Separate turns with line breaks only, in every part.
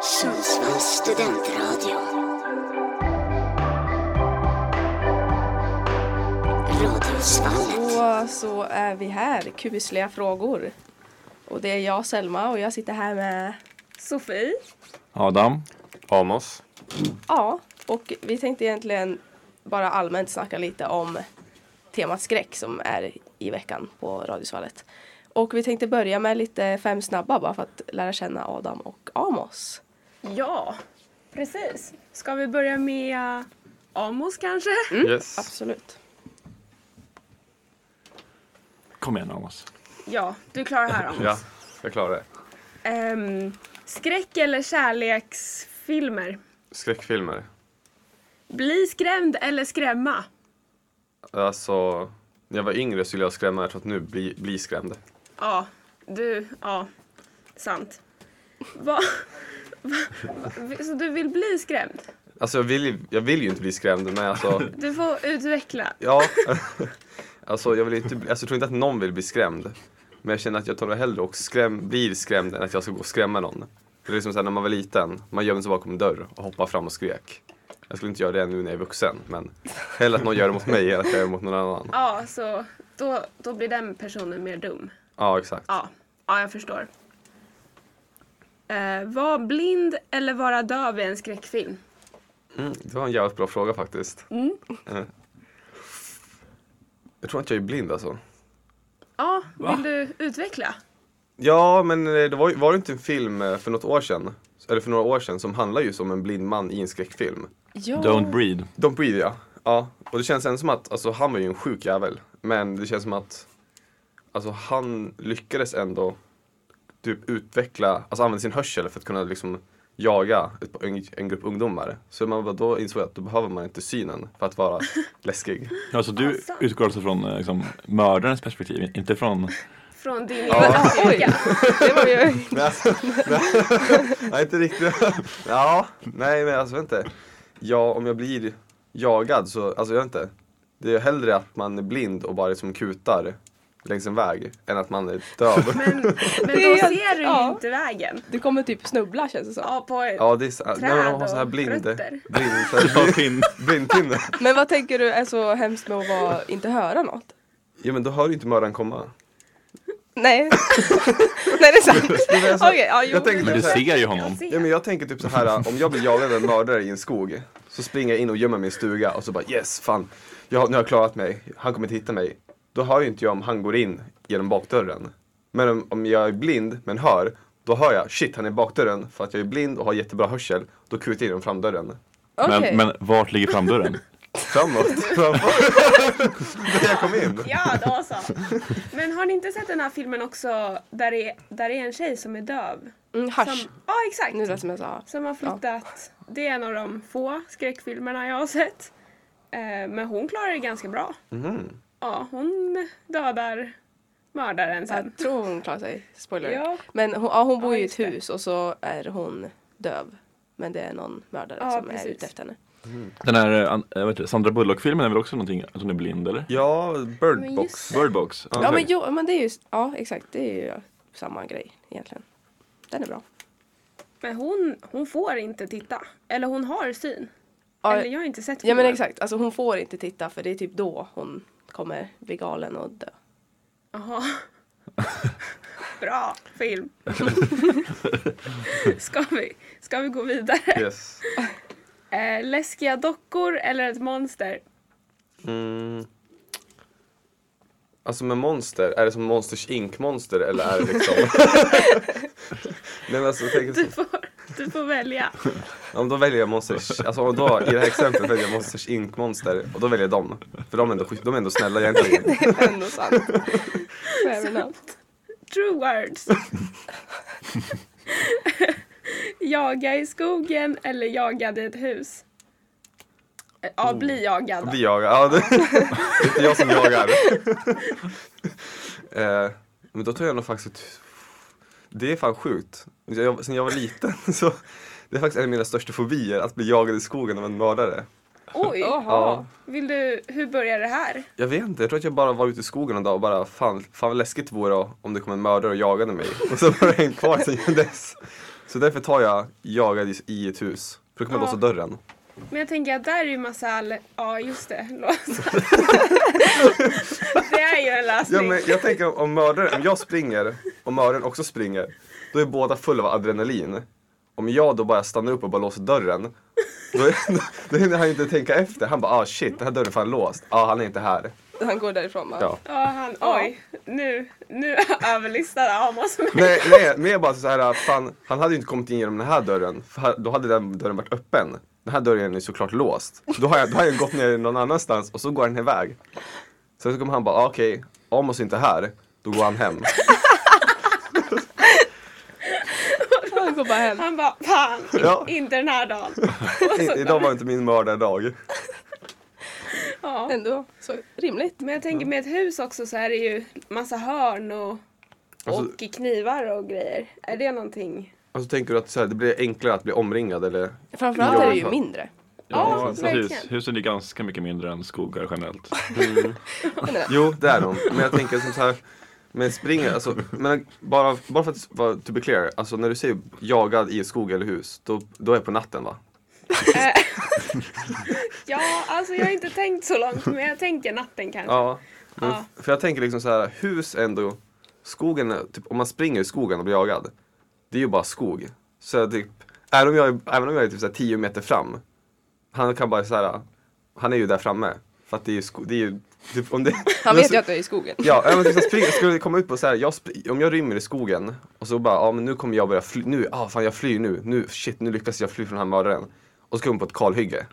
Sundsvalls studentradio. Radiosvallet.
Och så är vi här, kusliga frågor. Och det är jag Selma och jag sitter här med Sofie.
Adam.
Amos.
Ja, och vi tänkte egentligen bara allmänt snacka lite om temat skräck som är i veckan på Radiosvallet. Och vi tänkte börja med lite fem snabba bara för att lära känna Adam och Amos.
Ja, precis. Ska vi börja med eh, Amos kanske?
Yes.
Absolut.
Kom igen Amos.
Ja, du är klar här Amos.
Ja, jag klarar det.
Ehm, skräck eller kärleksfilmer?
Skräckfilmer.
Bli skrämd eller skrämma?
Alltså, när jag var yngre skulle jag skrämma. Jag tror att nu bli, bli skrämd.
Ja, du, ja, sant. Va, va, va, så du vill bli skrämd?
Alltså jag vill, ju- jag vill ju inte bli skrämd, men alltså,
Du får utveckla.
ja. Alltså jag, vill inte, bli- alltså jag tror inte att någon vill bli skrämd. Men jag känner att jag tar det hellre och skräm, blir skrämd än att jag ska gå och skrämma någon. Det är liksom såhär när man var liten, man gömde sig bakom en dörr och hoppade fram och skrek. Jag skulle inte göra det nu när jag är vuxen, men hellre att någon gör det mot mig än att jag gör det mot någon annan.
Ja, så då, då blir den personen mer dum.
Ja, exakt.
Ja, ja jag förstår. Eh, var blind eller vara döv i en skräckfilm?
Mm, det var en jävligt bra fråga faktiskt. Eh. Jag tror att jag är blind alltså.
Ja, vill du utveckla?
Ja, men eh, det var, ju- var det inte en film eh, för något år sedan, eller för några år sedan, som handlar just om en blind man i en skräckfilm?
Ja.
Don't breed.
Don't Breathe ja. Ja, och det känns ändå som att, alltså han var ju en sjuk jävel. Men det känns som att, alltså han lyckades ändå typ utveckla, alltså använda sin hörsel för att kunna liksom jaga ett, en, en grupp ungdomar. Så man bara, då insåg jag att då behöver man inte synen för att vara läskig.
Alltså du
Alltså.
utgår alltså från eh, liksom, mördarens perspektiv, inte från...
Från din
Ah,
egen
oj,
styrka.
det var ju...
Nej, alltså, nej, nej, inte riktigt. Ja, nej men alltså vänta. Ja, om jag blir jagad så, alltså jag vet inte. Det är hellre att man är blind och bara liksom kutar längs en väg än att man är döv.
Men, men då
är helt-
ser du ju
ja.
inte vägen.
Du kommer typ snubbla känns det som.
Ja, på ett...
Ja, det är så, nej, men de har
Träd
så här
och
blind,
rötter.
blind, så här, blindtinne.
Men vad tänker du är så hemskt med att vara, inte höra något?
Ja men då hör ju inte mördaren komma.
Nej. Nej det är sant.
Men alltså,
Okej, ja, jo.
jag tänker
Men du
typ så här,
ser ju
Jag
honom.
ser.
ja, men jag tänker typ så här om jag blir jagad av en mördare i en skog så springer jag in och gömmer mig i en stuga och så bara yes fan, jag, nu har jag klarat mig, han kommer inte hitta mig. Då hör ju inte jag om han går in genom bakdörren. Men om, om jag är blind men hör, då hör jag shit han är i bakdörren för att jag är blind och har jättebra hörsel. Då kutar jag genom framdörren.
Okej.
Men, men vart ligger framdörren?
Framåt, framför. Där jag kom in.
Ja, då så. Men har ni inte sett den här filmen också där det är, där det är en tjej som är döv?
Mm, hasch.
Som, ja, exakt.
Nu lät det som jag sa.
Som har flyttat. Det är en av de få skräckfilmerna jag har sett. Eh, Men hon klarar det ganska bra.
Mhm.
Ja, hon dödar mördaren sen.
Jag tror hon klarar sig. Spoiler.
Ja.
Men hon, ja, hon bor
Ja,
ju i
just
ett hus och så är hon döv. Men det är någon mördare
Ja,
som är
precis.
ute efter henne.
Den här eh, an- eh, vad heter det, Sandra Bullock-filmen är väl också någonting, att hon är blind eller?
Ja,
Men
bird
just
box.
det.
Bird box.
Ja
Okej.
men, jo, men det är ju, ja exakt, det är ju samma grej egentligen. Den är bra.
Men hon, hon får inte titta. Eller hon har syn.
Ja,
Eller jag har inte sett
ja men
filmen.
exakt, alltså hon får inte titta för det är typ då hon kommer bli galen och dö.
Jaha. Bra film. ska, vi, ska vi gå vidare?
Yes.
Eh, läskiga dockor eller ett monster?
Mm. Alltså med monster, är det som Monsters Inc monster eller är det liksom? Nej men alltså tänk
Du
så,
får, du får välja.
om då väljer jag Monsters, alltså om då i det här exemplet väljer jag Monsters Inc monster och då väljer jag dem. För de är ändå, schysst- de är ändå snälla egentligen.
Det är ändå sant. Fair enough.
True words. Jaga i skogen eller jagad i ett hus? Eh,
Oh.
Ja, bli jagad.
Då
då.
blir jag, ja det, det är inte jag som jagar. eh, men då tar jag nog faktiskt, ett- det är fan sjukt. Jag, sen jag var liten så, det är faktiskt en av mina största fobier att bli jagad i skogen av en mördare.
Oj!
Jaha.
Vill du, hur börjar det här?
Jag vet inte, jag tror att jag bara var ute i skogen en dag och bara fan, fan vad läskigt det vore om det kom en mördare och jagade mig. Och så var det en kvar sen dess. Så därför tar jag jagad i- i ett hus. För då kan man
Ja.
låsa dörren.
Men jag tänker att där är ju massa all... Ja, just det. Låsa. det är ju en lösning.
Ja, men jag tänker om- om mördaren, om jag springer och mördaren också springer, då är båda fulla av adrenalin. Om jag då bara stannar upp och bara låser dörren, då, då hinner han ju inte tänka efter. Han bara ah shit, den här dörren är fan låst. Ah han är inte här.
Han går därifrån bara.
Ja.
Ja, han, oj, nu, nu överlistade Amos mig.
Nej, nej, men jag bara så här, fan, han hade ju inte kommit in genom den här dörren, för ha- då hade den dörren varit öppen. Den här dörren är såklart låst. Då har jag, då har jag gått ner någon annanstans och så går han iväg. Sen så kommer han bara, ah, okej, Amos är inte här, då går han hem.
Han går bara hem.
Han bara, fan,
Ja.
inte den här dagen.
I, idag var inte min mördardag.
Ja.
Ändå så rimligt.
Men jag tänker med ett hus också så är det ju massa hörn och,
Alltså-
och knivar och grejer. Är det någonting?
Och så tänker du att så här, det blir enklare att bli omringad eller?
Framförallt är det ju mindre.
Ja,
Ja, precis.
verkligen.
Husen är ganska mycket mindre än skogar generellt.
Jo, det är de. Men jag tänker som så här, men springer, alltså, men bara, bara för att vara to be clear, alltså när du säger jagad i skog eller hus, då, då är det på natten va?
Eh, ja, alltså jag har inte tänkt så långt men jag tänker natten kanske.
Ja. Men,
Ja.
För jag tänker liksom så här, hus ändå, skogen, är- typ, om man springer i skogen och blir jagad, det är ju bara skog. Så jag typ, även om jag, är- även om jag är typ så här 10 meter fram, han kan bara så här, han är ju där framme. För att det är ju, sko- det är ju typ, om det,
Han vet ju att du är i skogen.
Ja, ja, men typ så springer, skulle det komma ut på så här, jag spr- om jag rymmer i skogen och så bara, ja men nu kommer jag börja fly, nu, ah fan jag flyr nu, nu, shit nu lyckas jag fly från den här mördaren. Och så kommer jag på ett kalhygge.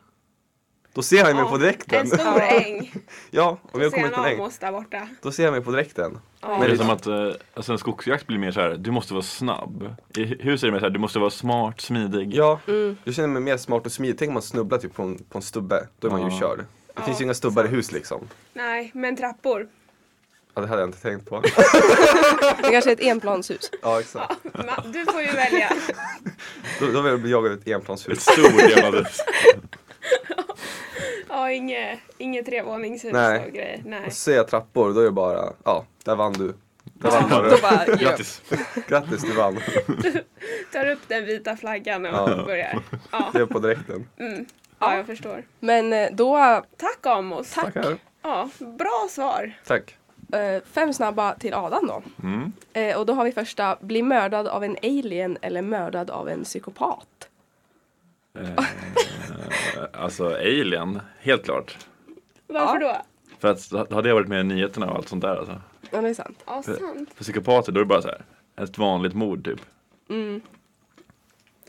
Då ser han mig på
En
direkten.
stor äng.
Ja, om
Då
jag
ser
kommer ut på
han
en äng,
Amos där borta.
då ser han mig på direkten.
Ja.
Det är
Men-
som att eh, alltså en skogsjakt blir mer så här, du måste vara snabb. I hu- hus är det mer så här, du måste vara smart, smidig.
Ja, jag känner mig mer smart och smidig. Tänk om man snubblar typ på en, på en stubbe, då är man ju
Ja.
körd. Det finns ju inga stubbar i hus liksom.
Nej, men trappor.
Ja, det hade jag inte tänkt på.
Det kanske är ett enplanshus.
ja, exakt.
Ma- Du får ju välja.
Då, då vill jag bli jagad i ett
Ett
enplanshus.
stort jävla hus.
Ja, inget, inget trevåningshus
Nej.
och grejer. Nej.
Och så ser jag trappor, då är det bara, ja, där vann du. Där vann
Då
du.
bara, ja.
Grattis.
Grattis, du vann.
Tar upp den vita flaggan och
Ja.
börjar. Ja.
Det är på direkten.
ja, jag förstår.
Men eh, då,
Tack Amos.
Tackar.
Ja, bra svar.
Tack.
eh, fem snabba till Adam då. Eh, Och då har vi första, bli mördad av en alien eller mördad av en psykopat.
Alltså alien, helt klart.
Varför då?
För att då hade jag varit med i nyheterna och allt sånt där alltså.
Ja, det är sant.
Ja, sant.
För psykopater då är det bara så här, ett vanligt mord typ.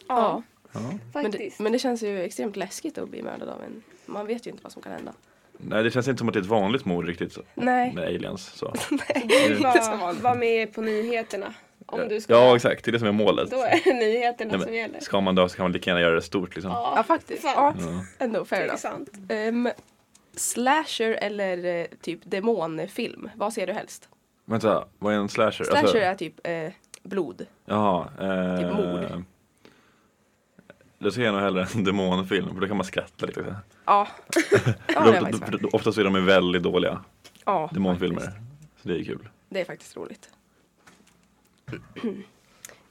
Ja,
Men det,
faktiskt.
men det känns ju extremt läskigt att bli mördad av en. Man vet ju inte vad som kan hända.
Nej det känns inte som att det är ett vanligt mord riktigt så.
Nej.
med aliens. Så.
Du vill
som
bara
vanligt.
vara med på nyheterna. Om du ska.
Ja exakt, det är det som är målet.
Då är det nyheterna
Nej,
som
men,
gäller.
ska man dö så kan man lika gärna göra det stort liksom.
Ja,
Ja, faktiskt. Ja,
Fan.
ändå fair
Det är
enough.
sant.
Ehm, slasher eller eh, typ demonfilm? Vad ser du helst?
Vänta, vad är en slasher? Alltså,
Slasher är typ eh, blod.
Jaha.
Typ
Eh,
mord.
Då ser jag nog hellre en demonfilm för då kan man skratta lite. Ja,
Ja. ja, det är faktiskt värt.
oftast är de ju väldigt dåliga,
ja,
demonfilmer.
faktiskt.
Så det är kul.
Det är faktiskt roligt.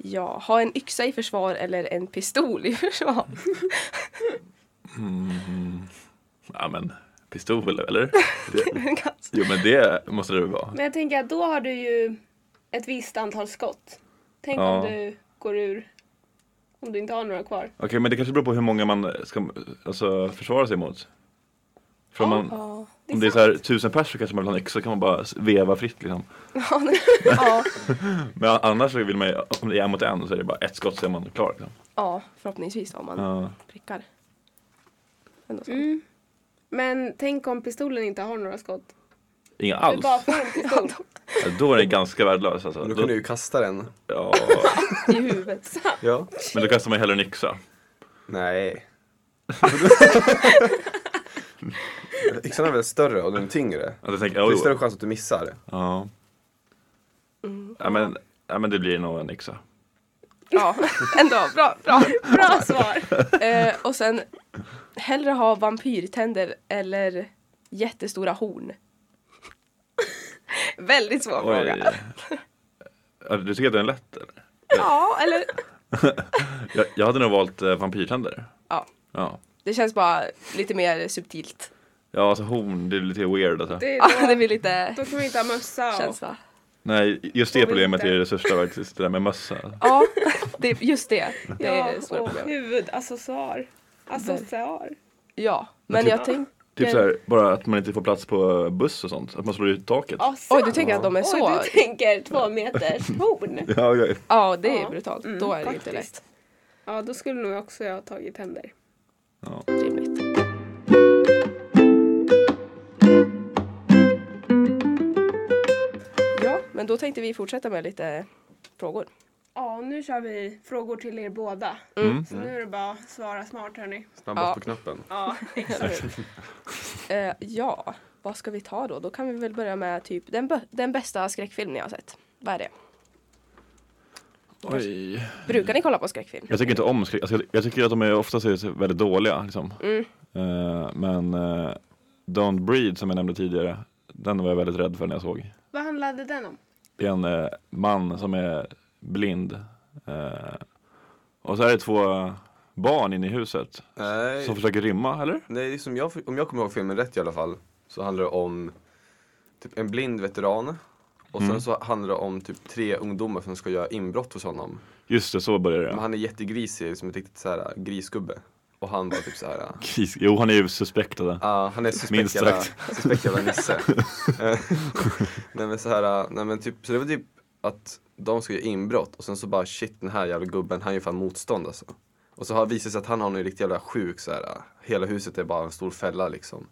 Ja, ha en yxa i försvar eller en pistol i försvar.
Ja men, pistol eller? Det,
Ganska-
jo men det måste det väl vara.
Men jag tänker att då har du ju ett visst antal skott. Tänk
Ja.
om du går ur. Om du inte har några kvar.
Okej men det kanske beror på hur många man ska alltså, försvara sig mot. För om, man,
ja.
om det är så här, tusen pers så kanske man vill ha en yxa så kan man bara veva fritt liksom.
Ja, nej. ja,
Men annars så vill man ju, om det är en mot en så är det bara ett skott så är man klar. Liksom.
ja, förhoppningsvis om man
Ja.
prickar. Ändå så.
Men tänk om pistolen inte har några skott.
Inga
Du
alls.
bara får en pistol.
Ja, Då är det ganska värdelös alltså.
Du kunde
Då,
ju kasta den.
ja,
I huvudet.
Ja.
men då kastar man ju hellre en yxa.
Nej. Yxan är väl större och den är tyngre?
Att jag tänker,
Det
ja,
är
jo.
större chans att du missar.
ja. Ja, men, ja men det blir nog en yxa.
Ja, ändå. Bra, bra.
Bra svar.
Eh, och sen, hellre ha vampyrtänder eller jättestora horn. Väldigt svår fråga.
Oj. Ja, du tycker att det är en lätt eller?
Ja, eller
Jag, jag hade nog valt eh, vampyrtänder.
Ja,
Ja.
det känns bara lite mer subtilt.
ja, alltså horn, det är lite weird alltså.
Det,
Ja, det
då,
blir lite
då kan vi inte ha mössa och
känsla.
Nej, just det
Och
problemet
vinter.
är det största faktiskt, det där med mössa.
Ja, det, just det. Det
Ja, alltså,
är det svåra
och
problemet.
huvudaccessoar. Alltså, Accessoar.
Ja, men
typ-
jag tänkte...
Typ såhär, bara att man inte får plats på eh, buss och sånt, att man slår ut taket.
Ja,
Oj,
sant.
du tänker att de är så...
Oj, du tänker två meters horn.
Ja, ja.
Ja, det är
Ja.
brutalt.
Mm,
Då är det inte
faktiskt.
lätt.
Ja, då skulle nog också jag ha tagit tänder.
ja.
Rimligt. Ja, men då tänkte vi fortsätta med lite frågor.
Ja, nu kör vi frågor till er båda.
Mm.
Så nu är det bara att svara smart hörni.
Snabbast
Ja.
på knappen.
Ja,
Eh, ja, vad ska vi ta då? Då kan vi väl börja med typ den, bö- den bästa skräckfilm ni har sett. Vad är det?
Oj.
Brukar ni kolla på skräckfilm?
Jag tycker inte om skräck, alltså, jag, jag tycker att de är oftast är väldigt dåliga liksom.
Mm.
Eh, men eh, Don't Breed som jag nämnde tidigare, den var jag väldigt rädd för när jag såg.
vad handlade den om?
Det är en eh, man som är blind. Eh, och så är det två barn inne i huset
Nej.
som försöker rymma, eller?
Nej, som jag, om jag kommer ihåg filmen rätt i alla fall så handlar det om typ en blind veteran och sen
Mm.
så handlar det om typ tre ungdomar som ska göra inbrott hos honom.
Just det, så börjar
Men
det.
han är jättegrisig, som ett riktigt så här grisgubbe. Och han var typ så här. ah,
Kris- Jo, han är ju suspekt. Eller?
ah, han är
Minst
suspekt jävla,
sagt.
suspekt jävla nisse. Eh, nej men så här, ah, nej men typ, så det var typ att de ska göra inbrott och sen så bara shit den här jävla gubben, han gör fan motstånd alltså. Och så har det visat sig att han har någon riktigt jävla sjuk så här. ah, hela huset är bara en stor fälla liksom.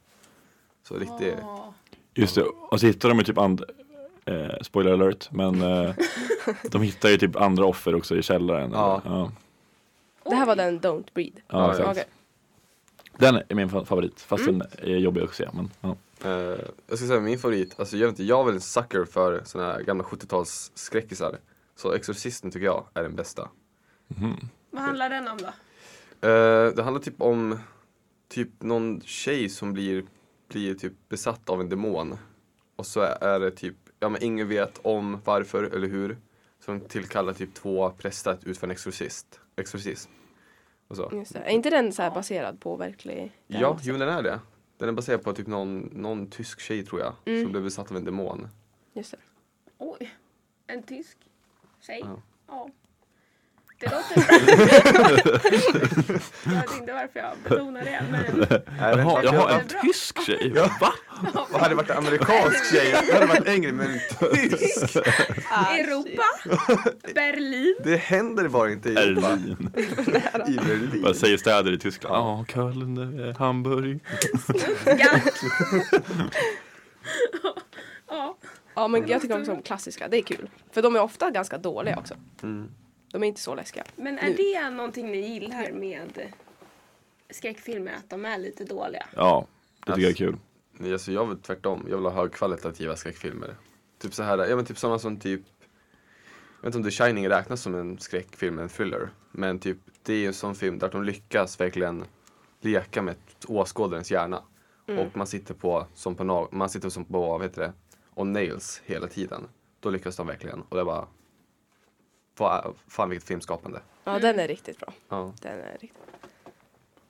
Så riktigt.
Ja.
Just det, och så hittar de ju typ and... Eh, spoiler alert, men eh, de hittar ju typ andra offer också i källaren.
Ja.
eller? Ja.
Det här var den Don't Breed.
Ja,
Ja,
exakt.
Okej.
Den är min fa- favorit, fast den är jobbig att se. Men, ja.
Eh, jag ska säga min favorit, alltså jag vet inte, jag är väl en sucker för såna här gamla 70-tals skräckisar. Så Exorcisten tycker jag är den bästa.
Vad handlar den om då?
Eh, det handlar typ om typ någon tjej som blir, blir typ besatt av en demon. Och så är det typ, ja men ingen vet om varför eller hur. Så de tillkallar typ två präster att utföra en exorcist, exorcism. Och så.
Just det. Är inte den så här baserad på verklig
Ja, jo den är det. Den är baserad på typ någon, någon tysk tjej tror jag, som blev besatt av en demon.
Just det.
Oj, en tysk tjej?
Ja.
Ja. Det låter bra. jag vet inte varför jag betonar det. Men...
Jaha,
jag
jaha,
har
en tysk tjej? Va?
Vad hade det varit en amerikansk tjej? Det hade varit en grej, men tysk?
Ah, Europa, Berlin.
Det händer bara inte i,
Berlin.
i Berlin.
Vad säger städer i Tyskland? Ja, Köln, eh, Hamburg.
Galt. ja,
Ja, men jag tycker också om klassiska. Det är kul. För de är ofta ganska dåliga också. De är inte så läskiga.
men är det någonting ni gillar med skräckfilmer? Att de är lite dåliga?
Ja, det tycker jag är kul.
Nej, alltså jag vill tvärtom. Jag vill ha högkvalitativa skräckfilmer. Typ så här, ja men typ sådana som typ jag vet inte om The Shining räknas som en skräckfilm, en thriller. Men typ, det är ju en sån film där de lyckas verkligen leka med åskådarens hjärna. Och man sitter på, som på, na- man sitter som på, vad heter det, on nails hela tiden. Då lyckas de verkligen. Och det är bara, vad, fan vilket filmskapande.
Ja, den är riktigt bra.
Ja.
Den är riktigt...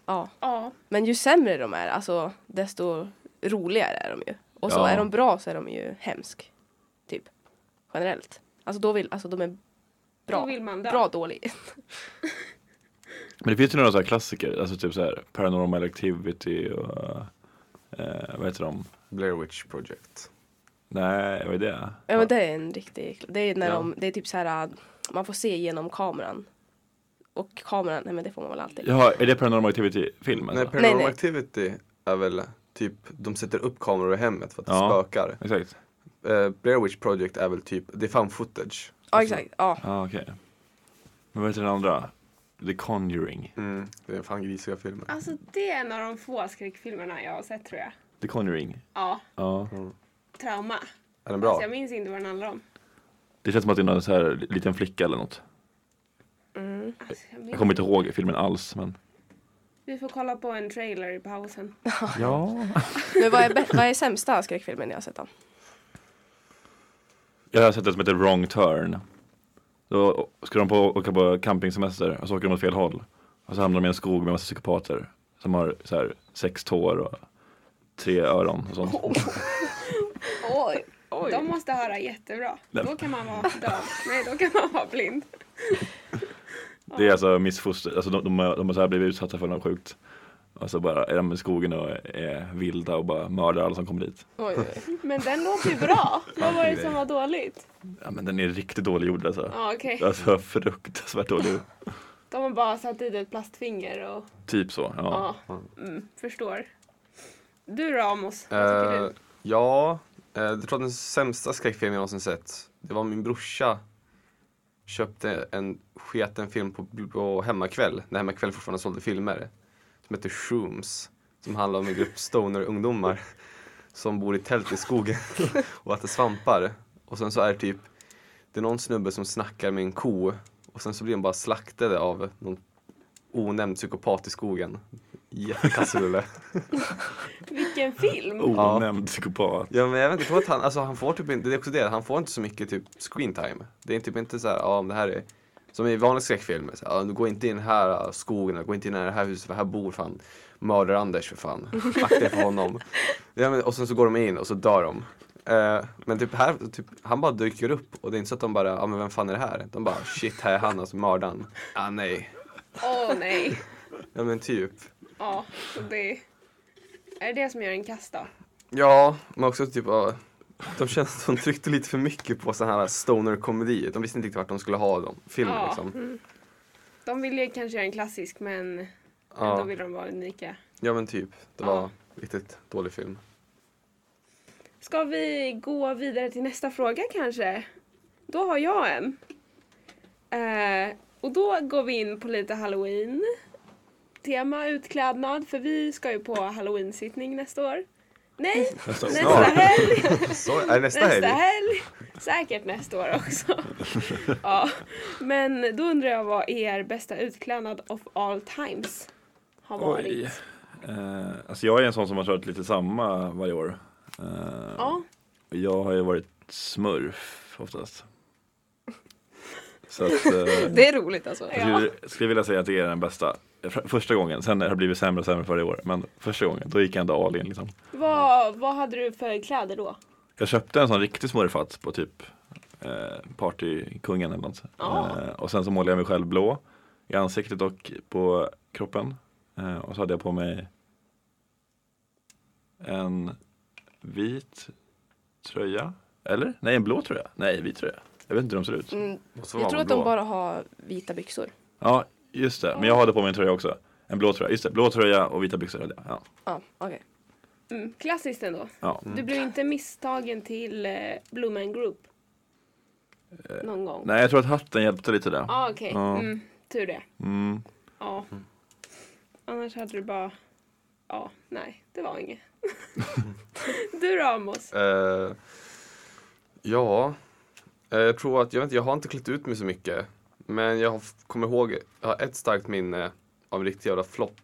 Ja,
Ja,
men ju sämre de är, alltså desto roligare är de ju. Och så
Ja.
är de bra så är de ju hemsk. Typ. Generellt. Alltså då vill, alltså de är bra.
då vill man dö.
Bra dålig.
Men det finns ju några så här klassiker, alltså typ så här Paranormal Activity och eh, vad heter de?
Blair Witch Project.
Nej, vad är det?
Ja men det är en riktig, det är när
Ja.
de, det är typ så här, man får se genom kameran. Och kameran, nej men det får man väl alltid.
Ja, är det Paranormal alltså? Activity-filmen?
Nej,
eller?
Paranormal
nej.
Activity är väl typ, de sätter upp kameror i hemmet för att det
Ja.
spökar.
Exakt.
Eh, Blair Witch Project är väl typ, det är fan footage.
Ja exakt, ja.
Ja, okej. Men vad heter den andra? The Conjuring.
Mm, det är fan grisiga filmer.
Alltså det är en av de få skräckfilmerna jag har sett tror jag.
The Conjuring.
Ja,
Ja.
Mm.
trauma.
Är den bra?
Alltså, jag minns inte vad den handlar om.
Det känns som att det är någon så här liten flicka eller något.
Alltså, jag minns.
Jag kommer inte ihåg filmen alls, men.
Vi får kolla på en trailer i pausen.
Ja.
Men vad är, bä- vad är sämsta skräckfilmen ni har sett då?
Jag har sett en som heter Wrong Turn. Då ska de på, åka på campingsemester och så åker de åt fel håll. Och så hamnar de i en skog med en massa psykopater. Som har så här, sex tår och tre öron och sånt.
Oj. De måste höra jättebra.
Nej.
Då kan man vara döv. Nej, då kan man vara blind.
Det är alltså missfoster, alltså de, de, har- de har så här blivit utsatta för något sjukt. Och så bara är de i skogen och är vilda och bara mördar alla som kommer dit.
Oj, oj, oj.
Men den låter ju bra. Vad var det som var dåligt?
Ja men den är riktigt dålig gjord alltså.
Ja, okej.
Alltså fruktansvärt dålig.
De har bara satt i det ett plastfinger och
Typ så. Ja.
ja, mm, förstår. Du då Amos, vad tycker
Eh,
du?
ja, eh, jag tror att den sämsta skräckfilmen jag någonsin sett, det var min brorsa köpte en sketen film på, på Hemmakväll, när Hemmakväll fortfarande sålde filmer. Som heter Shrooms, som handlar om en grupp stoner-ungdomar som bor i tält i skogen och äter svampar. Och sen så är det typ, det är någon snubbe som snackar med en ko och sen så blir de bara slaktade av någon onämnd psykopat i skogen. Jättekastrulle.
Vilken film!
Onämnd psykopat.
Ja men jag vet inte, jag tror att han, alltså han får typ inte, det är också det, han får inte så mycket typ screen time. Det är typ inte så här, ja om det här är, som i vanliga skräckfilmer, så här, ja, du går inte in i den här äh, skogen, gå inte in i det här huset, för här bor fan mördar-Anders för fan. Akta er för honom. Ja, men, och sen så går de in och så dör de. Eh, men typ här, typ, han bara dyker upp och det är inte så att de bara, ja men vem fan är det här? De bara, shit här är han alltså mördaren. Ah nej.
Åh nej.
Ja men typ.
Ja, så det är det det som gör en kast då?
Ja, men också typ ja, de känns de tryckte lite för mycket på sådana här stoner-komedier. De visste inte riktigt vart de skulle ha dem, filmen
Ja.
liksom.
De vill ju kanske göra en klassisk men ändå
Ja.
vill de vara unika.
ja, men typ. Det
Ja.
var riktigt dålig film.
Ska vi gå vidare till nästa fråga kanske? Då har jag en. Eh, och då går vi in på lite halloween. Tema utklädnad, för vi ska ju på halloween-sittning nästa år. Nej,
Nästa
nästa
år.
helg!
Så, nej, nästa
Nästa
helg.
helg! Säkert nästa år också. ja. Men då undrar jag vad er bästa utklädnad of all times har varit?
Oj. Eh, alltså jag är en sån som har kört lite samma varje år. Eh,
Ja,
Jag har ju varit smurf oftast. Så att, eh,
Det är roligt alltså.
Ja.
Jag skulle, skulle vilja säga att det är den bästa. Fr- Första gången, sen har det blivit sämre och sämre för varje år. Men första gången, då gick jag ändå all in liksom.
vad, vad hade du för kläder då?
Jag köpte en sån riktig smurfatt på typ eh, partykungen eller något.
Ja.
Eh, och sen så målade jag mig själv blå i ansiktet och på kroppen. Eh, och så hade jag på mig en vit tröja. Eller? Nej, en blå tröja. Nej, vit tröja. Jag vet inte hur de ser ut.
Mm,
Måste vara
jag tror att
blå.
de bara har vita byxor.
Ja, just det. Men jag hade på mig en tröja också. En blå tröja. Just det, blå tröja och vita byxor hade jag. Ja.
Ja, okej.
Mm, klassiskt ändå.
ja.
Du blev inte misstagen till eh, Bloomen Group? Någon gång? Ja,
Eh, Nej, jag tror att hatten hjälpte lite där.
ah, okej.
Ja.
Mm, tur det.
Mm.
Ja. Annars hade du bara... Ja, nej, det var inget. du då, Amos?
Eh, ja, Eh, jag tror att, jag vet inte, jag har inte klätt ut mig så mycket. Men jag har, kommer ihåg, jag har ett starkt minne av en riktig jävla flopp.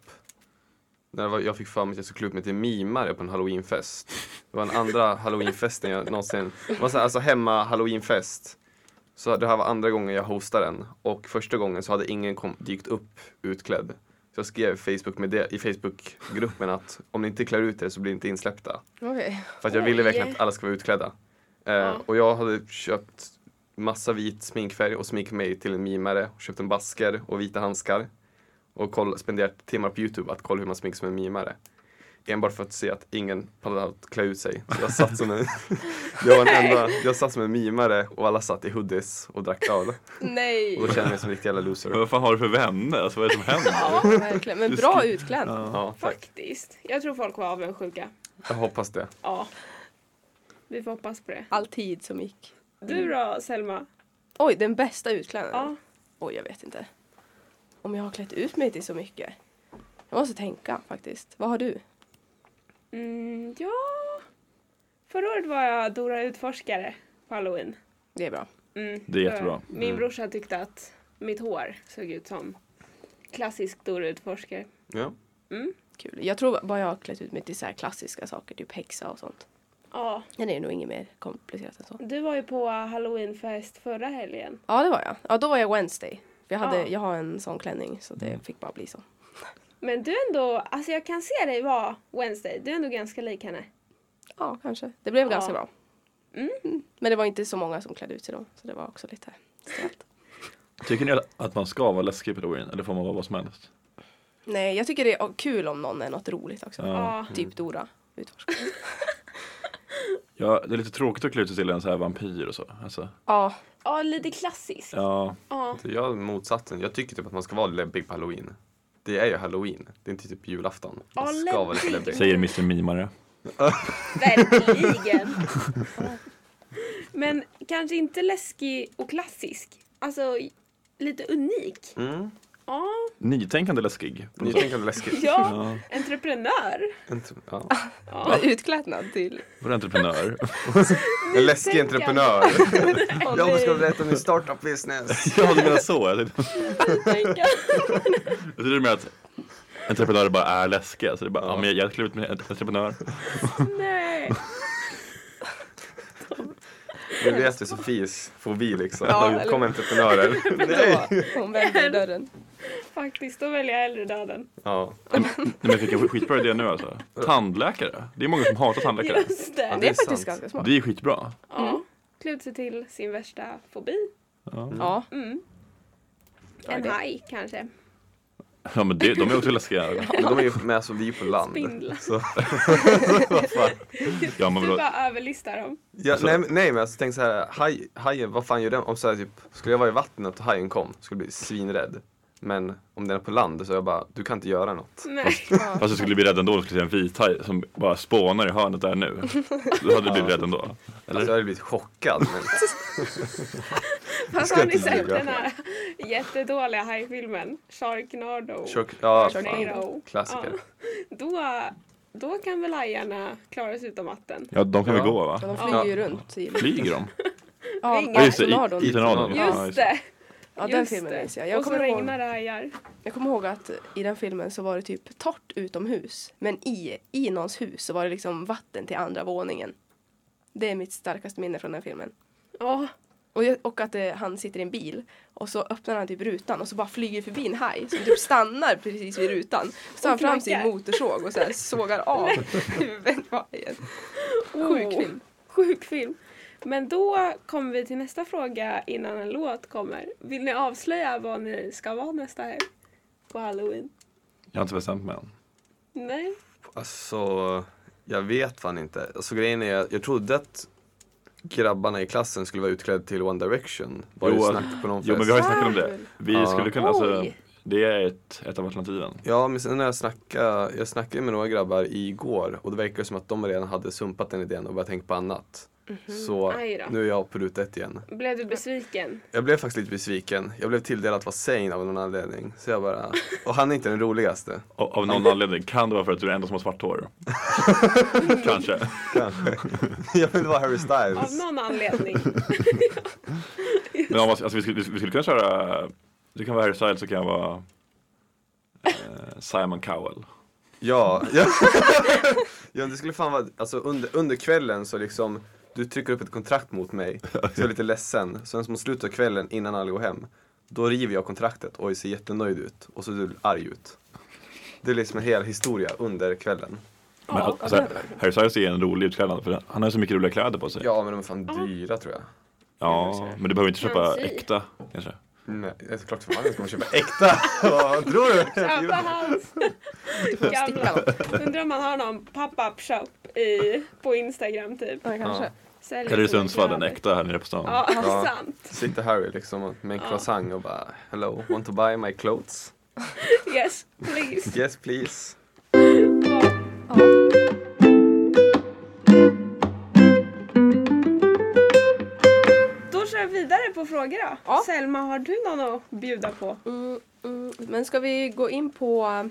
När jag var, jag fick för mig att jag skulle klä ut mig till mimare på en halloweenfest. Det var den andra halloweenfesten jag någonsin, det var så här, alltså hemma halloweenfest. Så det här var andra gången jag hostade den. Och första gången så hade ingen kom, dykt upp utklädd. Så jag skrev i Facebook med det, i Facebookgruppen att om ni inte klär ut er så blir ni inte insläppta.
Okej.
För att jag ville
Oj.
verkligen att alla ska vara utklädda. Eh,
Ja.
Och jag hade köpt massa vit sminkfärg och sminkat mig till en mimare. Och köpt en basker och vita handskar. Och koll, spenderat timmar på Youtube att kolla hur man sminkar som en mimare. Enbart för att se att ingen pallade att klä ut sig. Så jag satt som en, jag var den enda, jag satt som en mimare och alla satt i hoodies och drack öl.
Nej,
Och då kände jag mig som en riktig jävla
Men
loser.
vad fan har du för vänner? Alltså, vad är det som händer?
verkligen. Men bra
Just-
utklädd.
Ja, tack.
Faktiskt. Jag tror folk var avundsjuka.
Jag hoppas det.
Ja. Vi får hoppas på det.
All tid som gick.
Mm.
Du då, Selma?
Oj, den bästa utklädnaden.
Ja.
Oj, jag vet inte. Om jag har klätt ut mig till så mycket. Jag måste tänka faktiskt. Vad har du?
Mm, ja. Förra året var jag Dora Utforskare på halloween.
Det är bra.
Mm,
Det är jättebra.
för Min brorsa tyckte att mitt hår såg ut som klassisk stor utforskare.
Ja.
Kul. Jag tror bara jag har klätt ut mig till så här klassiska saker, typ häxa och sånt.
Ja,
Men det är nog inget mer komplicerat än så.
du var ju på halloweenfest förra helgen.
Ja, det var jag. Ja, då var jag Wednesday. För jag, hade,
Ja.
jag har en sån klänning så det fick bara bli så.
Men du är ändå, alltså jag kan se dig vara Wednesday. Du är ändå ganska lik henne.
Ja, kanske. Det blev
Ja.
ganska bra.
Mm.
Men det var inte så många som klädde ut sig då. Så det var också lite stelt.
Tycker ni att man ska vara läskig på Halloween eller får man vara vad som helst?
Nej, jag tycker det är kul om någon är något roligt också.
Ja.
Typ Dora. Utforska.
Ja, det är lite tråkigt att klä ut sig till en så här vampyr och så. Alltså,
Ja,
Ja, lite klassisk. Ja.
ja,
Jag är motsatsen. Jag tycker typ att man ska vara läbbig på halloween. Det är ju halloween. Det är inte typ julafton. Man
Ja,
ska vara lite
läbbig.
läbbig.
säger Mr Mimare.
Verkligen. Men kanske inte läskig och klassisk. Alltså lite unik.
Mm.
Ja,
Nytänkande läskig. på något sätt.
Nytänkande läskigt.
ja.
Ja,
entreprenör.
Inte- Ja.
Ja.
utklädnad till.
och entreprenör.
En läskig
Nytänkande.
entreprenör.
Och
Jag ska
det-
berätta om min startup business.
ja, du menar så. Jag tänkte,
tänka.
jag tyckte du menar att entreprenörer bara är läskiga. Så det är bara, ja, men jag, jag klär ut mig till en entreprenör.
Nej.
Nu vet vi Sofies fobi liksom.
Ja,
Ja,
eller-
Kom entreprenörer.
Då, hon vände i dörren.
Faktiskt, då väljer jag hellre döden.
Ja.
Nej, men jag fick en skitbra idé nu alltså. Tandläkare. Det är många som hatar tandläkare.
Just det.
Ja,
Det är
är
faktiskt
sant.
ganska smart.
Det är skitbra.
Ja. Klut sig till sin värsta fobi.
Ja.
Mm.
Ja,
En
det-
haj
Mm.
kanske.
Ja, men det, de är också läskiga.
Men de är ju med som vi på land.
Spindlar.
Så,
Ja, men
Du
vadå?
bara överlistar dem.
ja, nej, men- nej men alltså tänk så här, haj, hajen, vad fan gör den? Om så här, typ, skulle jag vara i vattnet och hajen kom, skulle jag bli svinrädd. Men om den är på land så är jag bara, du kan inte göra något.
Nej.
Fast du skulle bli rädd ändå om du skulle se en vithaj som bara spånar i hörnet där nu. Då hade du blivit rädd ändå. Eller?
Alltså, jag hade blivit chockad. Men,
Fast
ska
har ni
inte
sett
ljuga.
den här jättedåliga hajfilmen? Sharknado.
Shark- ja,
Sharknado.
fan. Klassiker.
Ja. Då, då kan väl hajarna klara sig utan vatten.
Ja, de kan väl
Ja.
gå va?
Ja,
Mm.
de flyger ju runt. I,
Flyger de?
ja,
Ringar.
Ja, just det,
tornadon.
i, i tornadon.
Just
Ja,
Just det!
Ja, den
just
filmen
det.
minns jag. Jag
och så
kommer, ihåg,
regnar det hajar.
jag kommer ihåg att i den filmen så var det typ torrt utomhus. Men i, i någons hus så var det liksom vatten till andra våningen. Det är mitt starkaste minne från den filmen.
Ja,
Och, jag, och att eh, han sitter i en bil och så öppnar han typ rutan och så bara flyger förbi en haj som typ stannar precis vid rutan. Så tar han fram sin
knackar.
motorsåg och så här sågar av huvudet på hajen. Sjuk
oh,
film.
sjuk film. Men då kommer vi till nästa fråga innan en låt kommer. Vill ni avslöja vad ni ska vara nästa helg? På halloween?
Jag har inte bestämt mig än.
Nej?
Alltså, jag vet fan inte. Alltså grejen är, jag trodde att grabbarna i klassen skulle vara utklädda till One Direction. Var
Jo,
det
alltså-
snack på någon fest?
Jo men vi har ju snackat om det. Vi
Ja.
skulle kunna, alltså,
Oj.
det är ett, ett av alternativen.
Ja, men sen när jag snackade, jag snackade med några grabbar igår och det verkar som att de redan hade sumpat den idén och börjat tänka på annat. Så
Mhm. Aj då.
nu är jag på ruta ett igen.
Blev du besviken?
Jag blev faktiskt lite besviken. Jag blev tilldelad att vara sane av någon anledning. Så jag bara, och han är inte den roligaste.
Och, av någon anledning kan det vara för att du är den enda som har svart hår. Kanske.
Kanske. Jag vill vara Harry
Av
Styles.
någon anledning.
Men om man, alltså, vi, skulle, vi skulle kunna köra, du kan vara Harry Styles så kan jag vara eh, Simon Cowell.
Ja, ja. ja, det skulle fan vara, alltså under, under kvällen så liksom, du trycker upp ett kontrakt mot mig. Så jag är lite ledsen. Sen mot slutet av kvällen innan alla går hem, då river jag kontraktet och jag ser jättenöjd ut. Och så ser du arg ut. Det är liksom en hel historia under kvällen.
Men, alltså, Harry Styles är en rolig utklädnad för han har så mycket roliga kläder på sig.
Ja, men de är fan dyra tror jag.
Ja, men du behöver inte köpa
Fancy.
äkta kanske.
Nej, det är klart för fan ska man köpa äkta. Vad tror du?
Köpa hans gamla. Undrar om man har någon pop-up shop i, på Instagram typ.
Ja, kanske.
Säljer
Eller i
sina
Sundsvall, den
kläder.
äkta här nere på stan.
Ja,
Ja.
sant.
Sitter Harry liksom med en croissant och bara Hello, want to buy my clothes?
Yes, please.
Yes please.
Ja. Då kör vi vidare på frågor då.
Ja.
Selma, har du någon att bjuda på?
Mm, mm. Men ska vi gå in på eh,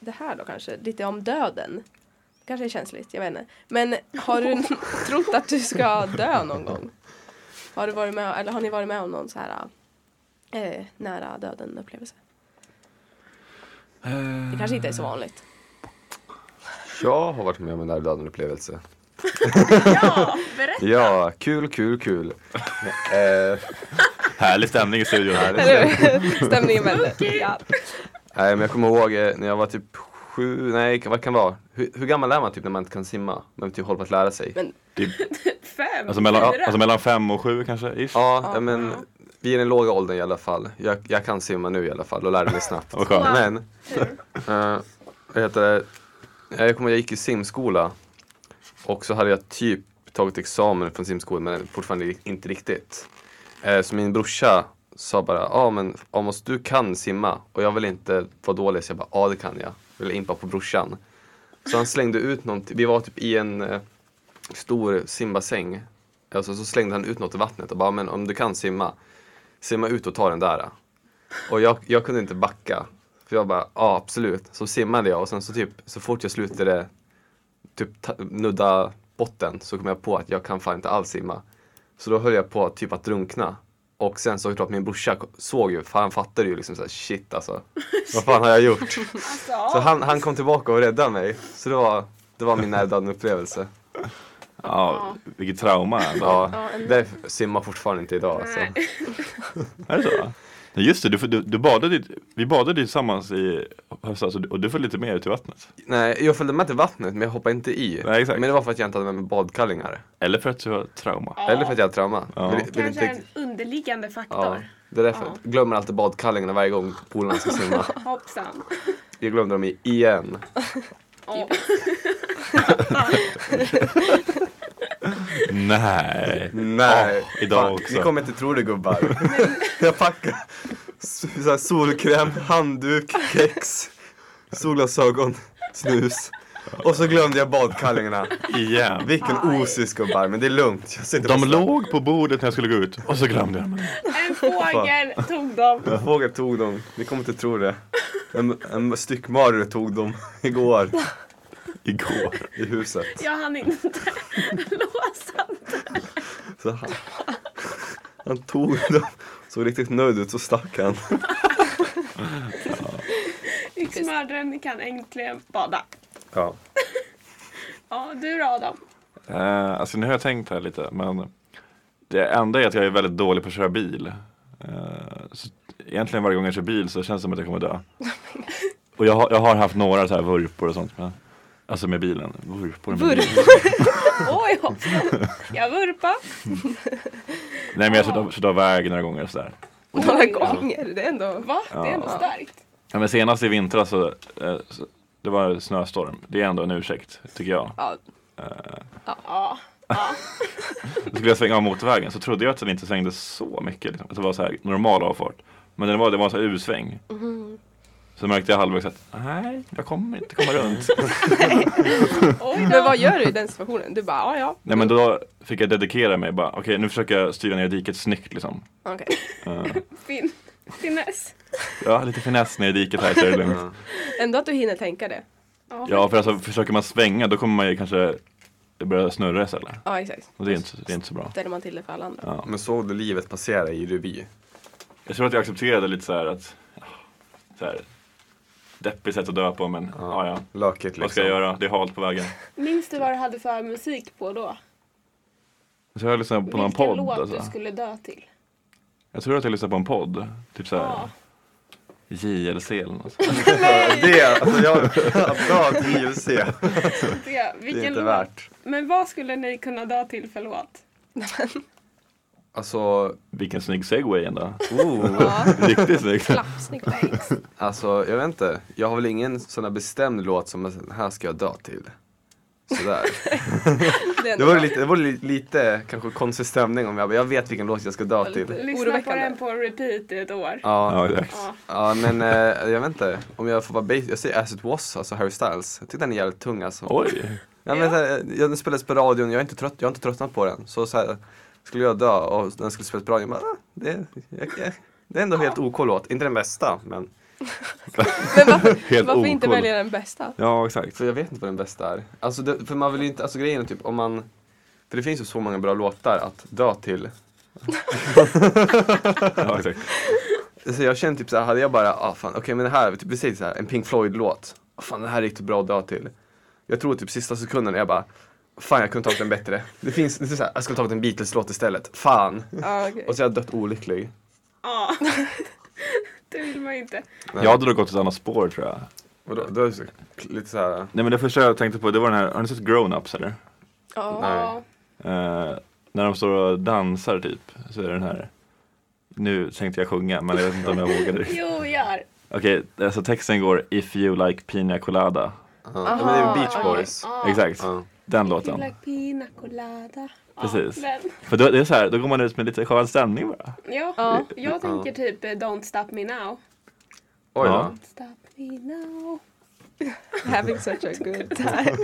det här då kanske? Lite om döden. Det kanske är känsligt, jag vet inte. Men har du trott att du ska dö någon gång? Har, du varit med, eller har ni varit med om någon så här eh, nära döden upplevelse? Det kanske inte är så vanligt.
Jag har varit med om en nära döden upplevelse.
Ja, berätta!
Ja, kul, kul, kul. eh,
Härlig stämning i studion.
Eh.
Härligt.
Eller hur? Stämningen vände. Ja.
nej, men jag kommer ihåg eh, när jag var typ sju, nej vad kan det vara? Hur, hur gammal är man typ när man inte kan simma? Men typ håller på att lära sig.
Men-
Typ,
Fem,
alltså, mellan,
fyra.
alltså mellan fem och sju kanske? Ish.
Ja, ja, men vi är i den låga åldern i alla fall. Jag, jag kan simma nu i alla fall och lärde mig snabbt.
Vad skönt.
Men,
Tur.
eh, vad heter det? Eh, Jag kommer ihåg jag gick i simskola och så hade jag typ tagit examen från simskolan men fortfarande inte riktigt. Eh, Så min brorsa sa bara, ja ah, men Amos du kan simma och jag vill inte vara dålig så jag bara, ja ah, det kan jag. Jag ville impa på brorsan. Så han slängde ut någonting, vi var typ i en eh, stor simbassäng. Alltså, så slängde han ut något i vattnet och bara, men om du kan simma, simma ut och ta den där. Och jag, jag kunde inte backa. För jag bara, ja absolut. Så simmade jag och sen så typ, så fort jag slutade typ ta, nudda botten så kom jag på att jag kan fan inte alls simma. Så då höll jag på typ att drunkna. Och sen så klart min brorsa såg ju, för han fattade ju liksom såhär shit alltså. Vad fan har jag gjort? Så
Alltså,
han, han kom tillbaka och räddade mig. Så det var, det var min nära döden upplevelse.
Ja, vilket trauma. Alltså.
Ja, därför simmar jag fortfarande inte idag. Alltså.
Nej.
Är det så? Nej, just det, du, du, du badade, i- vi badade ju tillsammans i höstas och du- och du följde lite med ut i vattnet.
Nej, jag följde med till vattnet men jag hoppade inte i.
Nej, exakt.
Men det var för att jag inte hade med mig badkallingar.
Eller för att du har trauma.
Eller för att jag hade trauma.
Ja.
Vill- vill inte
Kanske en
riktigt-
underliggande
ja.
faktor.
Det är därför. Jag glömmer alltid badkallingarna varje gång polarna ska simma.
Hoppsan.
Jag glömde dem i- igen.
Ja.
Nej.
Nej.
Åh, idag
Fan,
också.
Ni kommer inte tro det gubbar. jag packade så så här solkräm, handduk, kex, solglasögon, snus. Och så glömde jag badkallingarna.
Igen.
Vilken osis gubbar, men det är lugnt. Jag sitter
De
på
låg på bordet när jag skulle gå ut och så glömde jag dem.
En fågel tog dem.
Fågel tog dem, ni kommer inte tro det. En, en styckmördare tog dem igår
Igår.
i huset.
Jag hann inte låsa
Så han, han tog dem, såg riktigt nöjd ut, så stack han.
Yxmördaren kan äntligen bada.
Ja.
Ja, du då Adam?
Eh, alltså nu har jag tänkt här lite men det enda är att jag är väldigt dålig på att köra bil. Eh, så egentligen varje gång jag kör bil så känns det som att jag kommer dö. Och jag har, jag har haft några så här vurpor och sånt. Men, alltså med bilen. Vurpor med bilen.
Vurpa.
Oj, hoppsan. Jag vurpa.
Nej men jag har kört av väg några gånger och sådär.
Några gånger. Det är ändå...
Va? Det är ändå starkt.
Ja, men senast i vintras så, eh, så det var snöstorm. Det är ändå en ursäkt tycker jag.
Ja,
Ja.
Då skulle jag svänga av motorvägen så trodde jag att den inte svängde så mycket. Liksom. Att det var så här normal avfart. Men det var, det var så här U-sväng. Så märkte jag halvvägs att nej, jag kommer inte komma runt.
Oj
Men
då.
vad gör du i den situationen? Du bara, ja ja.
nej men då fick jag dedikera mig bara. Okej, nu försöker jag styra ner i diket snyggt liksom.
Okej.
Eh,
Fin. Finess.
ja, lite finess ner i diket här så är det lugnt.
Ja.
Ändå att du hinner tänka det.
Ja, för alltså försöker man svänga då kommer man ju kanske börja snurra istället.
Ja exakt.
Och det är inte, så- det är inte så bra.
Ställer man till det för alla andra.
Men såg du livet passera i revy?
Jag tror att jag accepterade lite så här att ah, så här, deppigt sätt att dö på men ja, ja.
Löket liksom.
Vad ska jag göra? Det är halt på vägen.
Minns du vad du hade för musik på då?
Så jag lyssnade på någon
Vilken
podd.
låt
Alltså.
du skulle dö till?
Jag tror att jag lyssnade på en podd. Typ såhär
Ja.
JLC eller något.
Det, alltså jag, bra JLC. Det
Det,
är
vilken
inte
låt?
värt.
Men vad skulle ni kunna dö till för låt?
Alltså,
Vilken snygg segway ändå.
oh.
Riktigt snygg.
Klappsnyggt.
alltså jag vet inte. Jag har väl ingen sån här bestämd låt som den här ska jag dö till. Sådär.
Det är
Det
ändå
vore
bra.
lite, det vore li- lite kanske konstig stämning om jag bara, jag vet vilken låt jag ska dö till.
Lyssna på
Oroväckande.
den på repeat i ett år.
Ja,
Ja,
exakt.
Ja.
ja men eh, jag vet inte. Om jag får vara basic, jag säger As It Was, alltså Harry Styles. Jag tycker den är jävligt tung alltså.
Oj.
Ja, men, så här, eh, jag, den spelades på radion, jag är inte trött, jag har inte tröttnat på den. Så, så här, skulle jag dö och den skulle spelas på radion, jag bara, ah, det, jag, jag, det är ändå helt OK låt. Inte den bästa, men
Men varför,
Helt
varför inte
ocool.
välja den bästa?
Ja, exakt.
för jag vet inte vad den bästa är. Alltså, det, för man vill ju inte, alltså grejen är typ om man, för det finns ju så många bra låtar att dö till.
Ja, exakt.
Så jag känner typ så här, hade jag bara, ah fan, okej men det här, typ, vi säger så här, en Pink Floyd-låt. Ah, fan, det här är riktigt bra att dö till. Jag tror typ sista typ sekunden, jag bara, Fan jag kunde tagit en bättre. Det finns, det är så här, jag skulle tagit en Beatles-låt istället. Fan.
Ja, okej.
Och så är jag dött olycklig.
Ja. det vill man ju inte.
Jag hade nog gått ett annat spår tror jag.
Och då, då är det så, lite så här.
Nej men det första jag tänkte på det var den här, har ni sett Grown-Ups eller?
Ja.
Nej.
Ja.
Eh, när de står och dansar typ, så är det den här Nu tänkte jag sjunga men jag vet inte om jag vågade
Jo, gör.
Okej, alltså texten går If you like pina colada
Ja, men det är ju Beach Boys.
Ah.
Ja.
Exakt,
Ja.
den
You
låten
like pina colada.
Precis.
Ja, den.
För då, det är så här, då går man ut med lite skön stämning bara
ja.
Ja.
jag tänker typ eh, Don't stop me now.
Oj
Ja.
då.
Stop me now.
Having such a good time.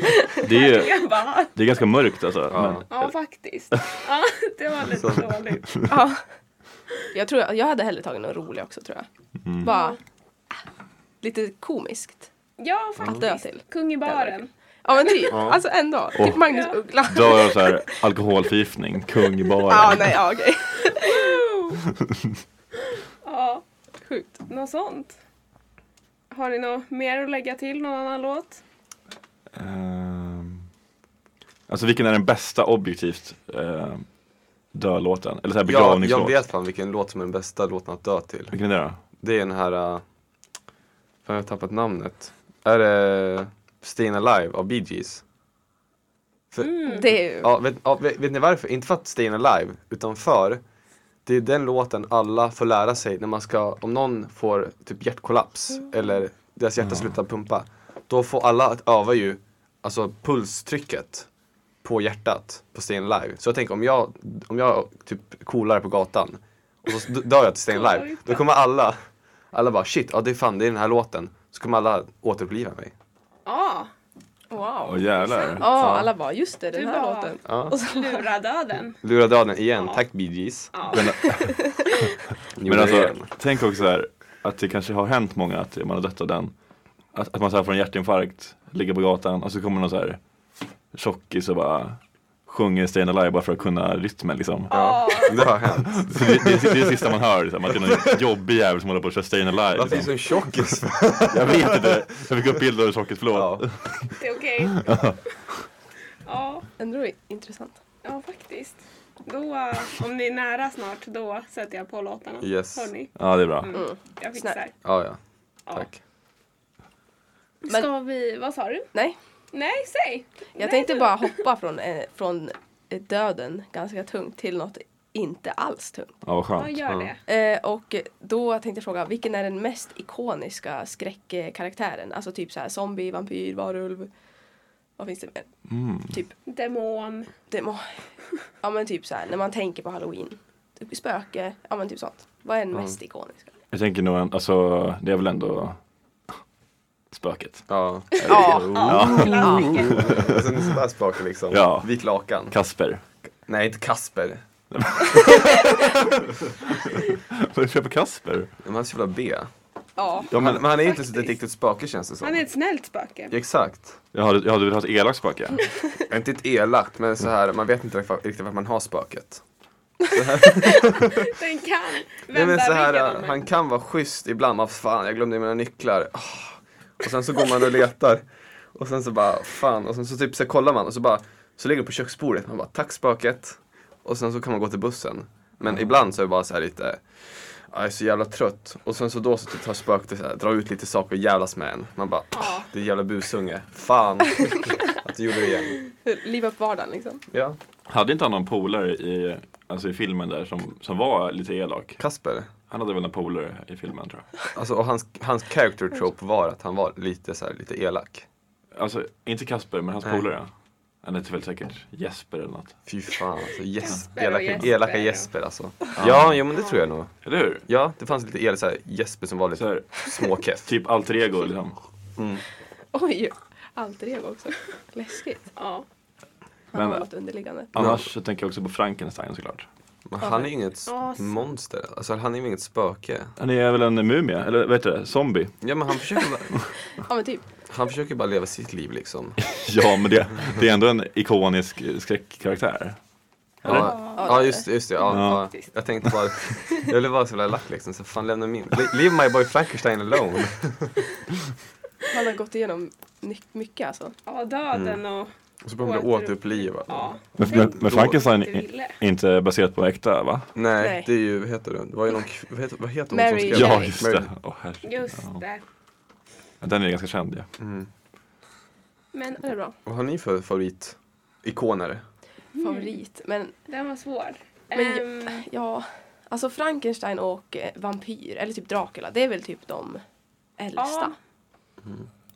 Det är ju
Jag bara,
det är ganska mörkt alltså
Ja.
ja faktiskt. Ja, det var lite dåligt.
ja. Jag tror jag hade hellre tagit någon rolig också tror jag.
Mm.
Bara ah, lite komiskt.
Ja
Att dö till.
faktiskt. Kung i baren.
Ja men typ,
Ja.
alltså ändå. Typ
Och-
Magnus
Ja.
Uggla.
Då har jag så här, alkoholförgiftning, kung i baren
Ja, nej, ja okej.
Ja,
Sjukt.
något sånt. Har ni något mer att lägga till? Någon annan låt?
Ehm, Alltså vilken är den bästa objektivt uh, dölåten? Eller så här
Jag,
begravningslåt?
jag vet fan vilken låt som är den bästa låten att dö till.
Vilken är det då?
Det är den här, uh, fan jag har tappat namnet. Är det Stayin' Alive av Bee Gees? För,
Mm.
Det är ju...
ja, vet, ja, vet, vet ni varför? Inte för att Stayin' Alive, utan för det är den låten alla får lära sig när man ska, om någon får typ hjärtkollaps eller deras hjärta slutar pumpa. Då får alla att öva ju, alltså pulstrycket på hjärtat på Stayin' Alive. Så jag tänker om jag, om jag typ coolar på gatan och så d- dör jag till Stayin' Alive, då kommer alla, alla bara shit, ja det är fan det är den här låten. Så kommer alla återuppliva mig.
Ja,
Wow.
Åh jävlar
Ja, alla bara just det, den
Du
här
bara-
låten.
Ja.
Och så,
Lura döden.
Lura döden igen, tack Bee Gees.
Ja.
Gjorde
Men
det
alltså,
igen.
tänk också så här, att det kanske har hänt många att man har dött av den. Att, att man så här får en hjärtinfarkt, ligger på gatan och så kommer någon så här tjockis och bara sjunger Stayin' Alive bara för att kunna rytmen liksom.
Ja, det har hänt.
Så det, det, det är det sista man hör, liksom, att det är någon jobbig jävel som håller på att köra Stayin' Alive.
Varför är du
Liksom.
sån tjockis?
Jag vet inte, jag fick upp bilder av tjockis, förlåt.
Ja.
Det är okej. Ja,
ändå intressant.
ja faktiskt. Då, eh, om ni är nära snart, då sätter jag på låtarna.
Yes.
Hörni,
Ja, det är bra.
Mm. jag fixar.
Snäll.
Ja, ja.
Ja.
Tack.
Men-
Ska vi, vad sa du?
Nej,
Nej, säg!
jag
Nej,
tänkte
du.
bara hoppa från, eh, från eh, döden ganska tungt till något inte alls tungt.
Ja, vad
Ja,
skönt.
gör det.
Eh, och då tänkte jag fråga, vilken är den mest ikoniska skräckkaraktären? Alltså typ så här zombie, vampyr, varulv. Vad finns det mer? Typ
Demon.
demon. Ja men typ så här när man tänker på halloween. Typ spöke, ja men typ sånt. Vad är den mest ikoniska?
Jag tänker nog, en- alltså det är väl ändå spöket.
Ja.
Ja.
Alltså, det är sådär spöke liksom.
Ja.
Vit lakan.
Kasper.
Nej, inte Kasper.
Vad köper Kasper?
Men han är så jävla B.
Ja.
Ja,
Men,
men,
men han är inte ens ett riktigt spöke känns det som.
Han är ett snällt spöke.
Ja, Exakt.
jag, hade, jag hade velat ha ett elakt spöke.
Inte ett elakt, men så här, man vet inte riktigt vart man har spöket.
Den kan
Nej,
vända
men så
ryggen
här, äh,
om en.
han kan vara schysst ibland, vad fan, jag glömde mina nycklar. Ah. Och sen så går man och letar. Och sen så bara, fan. Och sen så typ så kollar man och så bara, så ligger det på köksbordet. Man bara, tack spöket. Och sen så kan man gå till bussen. Men ibland så är det bara så här lite, "Ah, jag är så jävla trött. Och sen så då så typ tar spöket och så här, drar ut lite saker och jävlas med en. Man bara, ah, det är jävla busunge. Fan att du gjorde det igen.
Liva upp vardagen liksom.
Ja,
Hade inte han någon polare i, alltså i filmen där som, som var lite elak?
Kasper.
Han hade väl en polare i filmen tror jag.
Alltså, och hans, hans character trope var att han var lite så här, lite elak.
Alltså inte Kasper, men hans
Nej.
polare. Han hette väl säkert Jesper eller något.
Fy fan alltså, yes,
Jesper och
elaka,
Jesper,
elaka
ja.
Jesper alltså. Ja, jo men det tror jag nog.
Eller hur?
Ja, det fanns lite el, så här, Jesper som var
Så
lite
här,
småkeff.
typ alter ego liksom.
Oj, alter ego också. Läskigt.
Ja.
Han
Men-
har något underliggande.
Annars så tänker jag också på Frankenstein såklart.
Men han är ju inget
Ja, så-
monster, alltså han är ju inget spöke.
Han är väl en mumie, eller vad heter det? Zombie?
Ja men han försöker, bara-
Ja men typ.
han försöker bara leva sitt liv liksom.
Ja, men det, det är ändå en ikonisk eh, skräckkaraktär.
Ja, ja just det, just det. Ja, ja. Jag tänkte bara, jag ville vara så jävla lack liksom, så fan lämna min, Le- leave my boy Frankenstein alone.
Han har gått igenom ny- mycket alltså.
Mm.
ja, döden och
Och så behöver man återuppliva.
Ja.
Men,
Tänk
men,
då
men Frankenstein
inte
är
ville.
inte baserat på äkta va?
Nej,
Nej.
det är ju, vad heter det? Det var ju någon, kv- vad heter, vad heter hon
Mary
som skrev
Ja
Shelley.
just det. Åh, herregud. Ja.
Just det.
Den är ganska känd ja.
Mm.
Men
Det är bra.
Vad har ni för favorit? Ikonare?
Favorit. Men
den var svår.
Men jag-
Ehm,
ja, alltså Frankenstein och eh, vampyr, eller typ Dracula, det är väl typ de äldsta.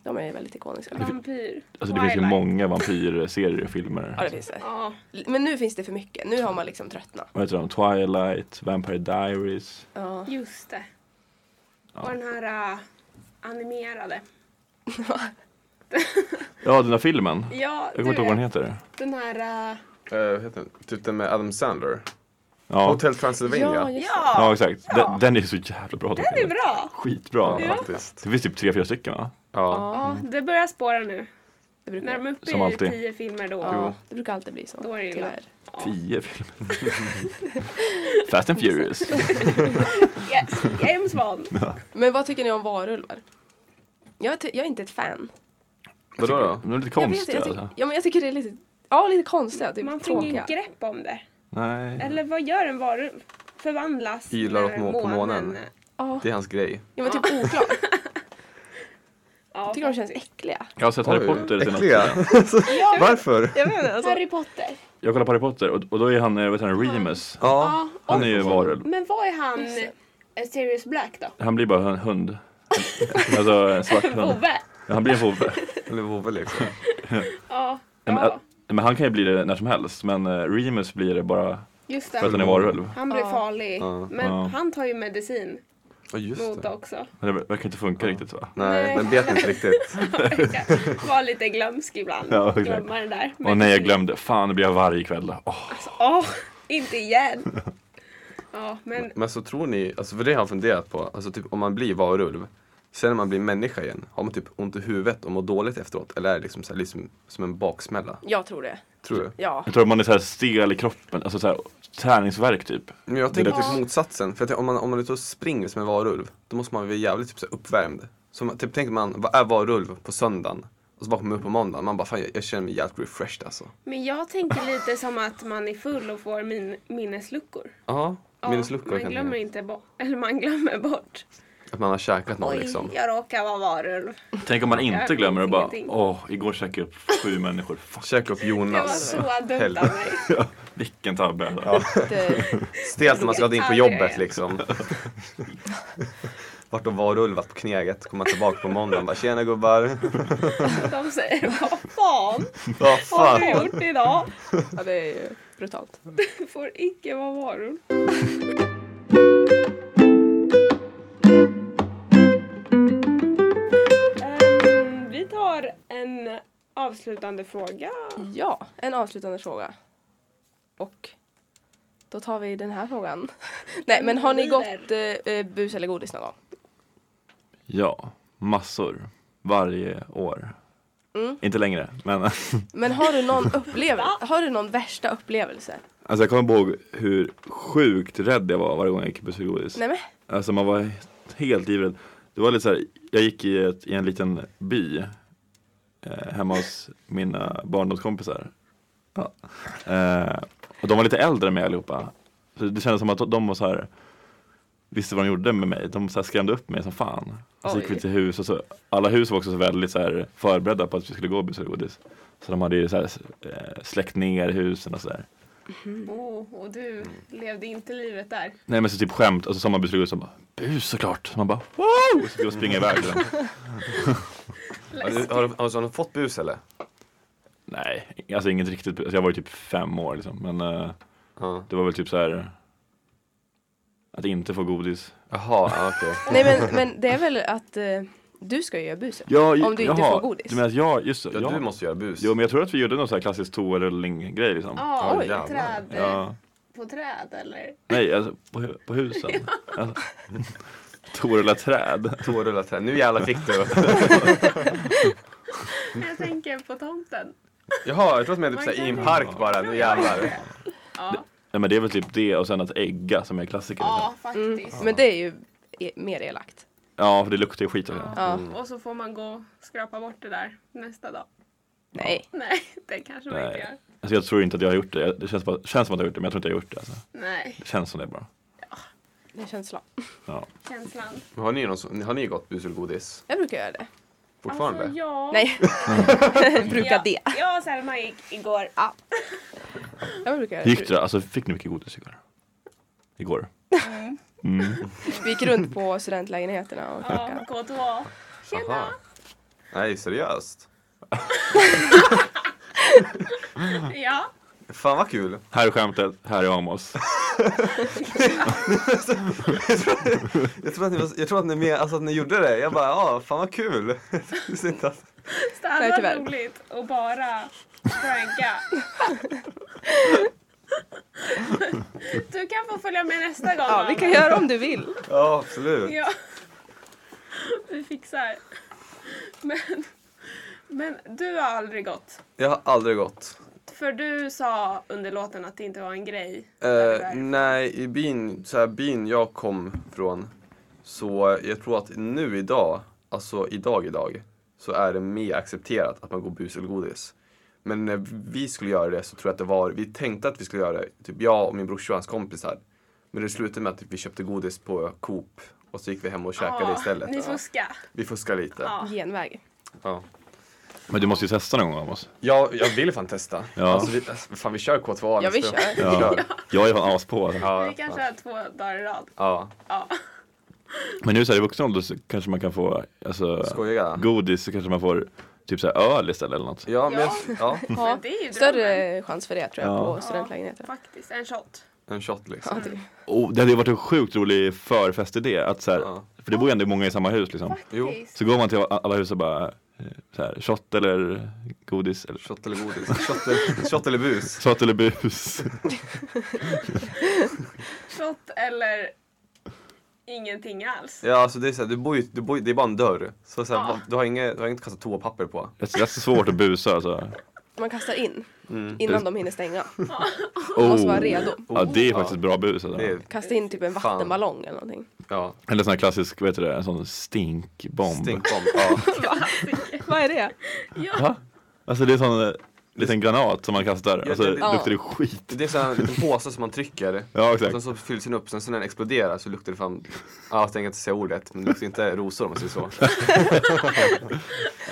De är väldigt ikoniska.
vampyr.
Alltså det finns ju
Twilight.
många vampyrserier och filmer.
Ja, det finns det.
Ja.
Men nu finns det för mycket. Nu har man liksom tröttnat.
Vad heter de? Twilight, Vampire Diaries.
Ja.
Just det.
Ja.
Och den här äh, animerade.
Ja den där filmen.
Ja,
Jag
du
kommer inte ihåg vad den
vet.
heter.
Den här... äh,
Eh, vad heter den? Typ den med Adam Sandler?
Ja,
Hotel Transylvania?
just det.
ja,
ja exakt. Den, den är så jävla bra.
den är bra!
Skitbra.
Ja.
Faktiskt.
Det finns typ tre, fyra stycken va?
Ja.
Ja,
Ja, det börjar spåra nu.
det brukar,
När de är uppe
Som
i
alltid.
tio filmer då.
ja, det brukar alltid bli så.
Då är det illa.
tyvärr.
Tio filmer. Fast and Furious.
Yes, James Bond.
Men vad tycker ni om varulvar? Jag, ty- jag är inte ett fan.
Vadå då?
De är lite
Jag, vet,
konstiga.
jag,
alltså.
tycker- ja, men jag tycker det är lite, ja, lite konstiga. Typ,
Man får
tråkiga.
inget grepp om det.
Nej.
Eller vad gör en varulv? Förvandlas?
Ylar
när
åt må- på månen.
Ja,
Det är hans grej.
ja, men typ oklart.
Ja,
Jag tycker de känns äckliga.
Jag har sett Harry Potter senaste
äckliga.
tiden.
Varför?
Jag menar alltså.
Harry Potter.
Jag kollar på Harry Potter och, och då är han, eh, vad heter han, Remus.
Ja.
Han är ju varulv.
Men vad är han?
Just det.
eh, Sirius Black då?
Han blir bara en hund. Alltså en svart hund.
Vovve?
Ja, Han blir en vovve.
Eller vovve liksom.
Ja.
Men, eh,
ja.
men han kan ju bli det när som helst. Men eh, Remus blir det bara
Just
för att
det.
han är varulv.
Han blir
Ja.
farlig.
Ja.
Men
Ja.
han tar ju medicin
Ja just
mot det
det.
också.
Men det verkar inte funka riktigt va?
Nej, den bet inte riktigt.
Var lite glömsk ibland.
Ja, exakt.
Glömma det där. Alltså,
Åh nej jag glömde. Fan det blir jag varje kväll. Åh.
Åh, inte igen. Ja, men
Men så tror ni, alltså för det har jag funderat på, alltså typ om man blir varulv, sen när man blir människa igen, har man typ ont i huvudet och mår dåligt efteråt? Eller är det liksom, så här, liksom som en baksmälla?
Jag tror det.
Tror du?
Ja.
Jag tror att man är så här stel i kroppen. Alltså så här, träningsvärk typ.
Men jag tänker
Det låter-
typ motsatsen, för att om man, om man är ute och springer som en varulv, då måste man vara jävligt typ, så här, uppvärmd. Så man, typ, tänker man, vad är varulv på söndagen? Och så bara kommer man upp på måndagen, man bara fan jag, jag känner mig jävligt refreshed alltså.
Men jag tänker lite som att man är full och får min- minnesluckor.
Ja,
Ja,
minnesluckor
man
kan
glömmer
jag
inte bort. Eller man glömmer bort.
Att man har käkat någon
Oj,
liksom.
jag råkar vara varulv.
Tänk om man inte
minns
glömmer och bara
ingenting.
åh igår käkade jag upp sju människor. Fuck
Käka upp
Det var
Jonas.
så dumt av
Helvete.
mig.
vilken tabbe.
Det,
Stelt när man ska in på
Ja,
jobbet
ja.
liksom. Vart de varulvat på kneget, kommer tillbaka på måndagen bara tjena gubbar.
De säger vad fan
Vad
har du
fan.
gjort idag?
ja, det är ju brutalt.
Du får icke vara varulv. Ehm, vi tar en avslutande fråga.
Ja, en avslutande fråga. Och då tar vi den här frågan. Nej, men har ni gått eh, eh, bus eller godis någon gång?
Ja, massor. Varje år.
Mm.
Inte längre, men
Men har du någon upplevelse? Har du någon värsta upplevelse?
Alltså jag kommer ihåg hur sjukt rädd jag var varje gång jag gick på psykodis.
Nej men,
Alltså man var helt livrädd. Det var lite så här, jag gick i, ett, i en liten by eh, hemma hos mina barndomskompisar. Ja. Eh, och de var lite äldre än mig allihopa. Så det kändes som att de- de var så här, visste vad de gjorde med mig. De så här skrämde upp mig som fan. Och så gick vi
Oj.
till hus och så, alla hus var också så väldigt så här förberedda på att vi skulle gå på psykodis. Så de hade ju så här, eh, släckt ner husen och sådär.
Oh, och du levde inte livet där.
Nej men så typ skämt, alltså samma beslut som bara bus såklart. Så man bara wow! Och så skulle jag springa iväg. till dem.
Har du, har, du, alltså, har du fått bus eller?
Nej, alltså inget riktigt. Alltså, jag var ju typ fem år liksom. Men eh,
Ja.
det var väl typ så här. Att inte få godis.
Jaha, ja, okej.
nej, men, men det är väl att eh, du ska ju göra buset?
Ja, j-
Om du inte får godis.
Du menar att jag, just det.
Ja, du måste göra bus.
Jo men jag tror att vi gjorde någon sån här klassisk toarullning-grej liksom.
Ja,
Oj,
oh,
jävlar.
träd eh,
Ja.
på träd eller?
Nej, alltså på, hu- på husen. Alltså, toarulla träd.
Tårullar trä. Nu jävlar fick du.
Jag tänker på tomten.
Jaha, jag tror att man är typ
Man
såhär
kan
i en
ju-
park bara. Nu jävlar.
Ja,
Nej men det är väl typ det och sen att ägga som är klassiker.
ja
liksom.
Mm,
faktiskt.
men det är ju e- mer elakt.
ja för det luktar ju skit av det.
Ja.
Och så får man gå och skrapa bort det där nästa dag.
Nej.
Nej, det kanske man inte
Nej.
gör.
Alltså jag tror inte att jag har gjort det. Det känns, bara, känns som att jag har gjort det men jag tror inte jag har gjort det. Alltså.
Nej,
Det känns som det bara.
Det känns bra.
Ja.
känslan.
Men Har ni, någon, som- har ni gott bus eller godis
Jag brukar göra det.
fortfarande?
Alltså, ja.
Nej. brukar det.
Jag, jag och Selma gick igår.
Ja. Jag brukar göra det.
Gick det? Alltså fick ni mycket godis igår? Igår? Mm.
Vi gick runt på studentlägenheterna och
Ja,
käkade.
K2. Tjena!
Aha. Nej, seriöst?
Ja.
Fan vad kul!
Här är skämtet, här är Amos.
Jag tror att ni, var, jag tror att ni, med, alltså, att ni gjorde det. Jag bara, ja, fan vad kul! Jag visste inte att-
Det
Nej,
hade
tyvärr.
varit roligt att bara pranka. Du kan få följa med nästa gång.
Ja, vi kan
Anna.
göra om du vill.
Ja, absolut.
Ja. Vi fixar. Men, men du har aldrig gått.
Jag har aldrig gått.
För du sa under låten att det inte var en grej. där du
Eh,
är.
nej, i byn, så här, byn jag kom från, så jag tror att nu idag, alltså idag idag, så är det mer accepterat att man går bus eller godis. Men när vi skulle göra det så tror jag att det var, vi tänkte att vi skulle göra det, typ jag och min brorsa och hans kompisar. Men det slutade med att vi köpte godis på Coop och så gick vi hem och käkade
Ja,
istället.
Ah, Ni
Ja.
fuskar.
Vi fuskade lite.
Ja.
Genväg.
Ja.
Men du måste ju testa någon gång Amos.
Ja, jag vill fan testa.
Ja.
Alltså, vi, alltså, fan vi kör K2A
Ja, vi
nästa-
kör.
Ja. Jag är fan as på. alltså.
Ja,
Vi kanske har två dagar i rad.
ja.
Ja.
Men nu så här, i vuxen ålder så kanske man kan få alltså,
Skojiga.
godis så kanske man får typ så här, öl istället eller något.
Ja, men jag, ja,
Ja.
Men det är ju drömmen.
Större chans för det tror jag
Ja.
på studentlägenheter.
Faktiskt, en shot.
en shot liksom.
Ja, typ.
Och det hade ju varit en sjukt rolig förfestidé. Att så här,
Ja.
För det bor ju ändå många i samma hus liksom.
Jo.
Faktiskt.
Så går man till alla hus och bara eh, så här, shot eller godis. Eller,
Shot eller godis? Shot eller, shot eller bus?
shot eller bus.
Shot eller ingenting alls.
Ja, alltså det är såhär, du bor ju, du bor, ju- det är bara en dörr. Så, så här,
Ja.
va- du, har inget, du har inget att kasta toapapper på.
Det är rätt så svårt att busa alltså.
Man kastar in innan de hinner stänga.
Oh.
Måste vara redo.
Ja det är faktiskt bra bus alltså.
Det är,
Kasta in typ en
Fan.
vattenballong eller någonting.
ja,
Eller sån här klassisk, vad heter det, en sån stinkbomb.
stinkbomb. Ja.
Vad är det?
Ja. Alltså det är sån eh, liten granat som man kastar.
Ja,
Alltså
det-
det luktar det skit.
Det är sån här liten påse som man trycker.
Ja
Sen
exakt.
så fylls den upp, sen så när den exploderar så luktar det fan, ja, jag tänker inte säga ordet, men det luktar inte rosor om man säger så.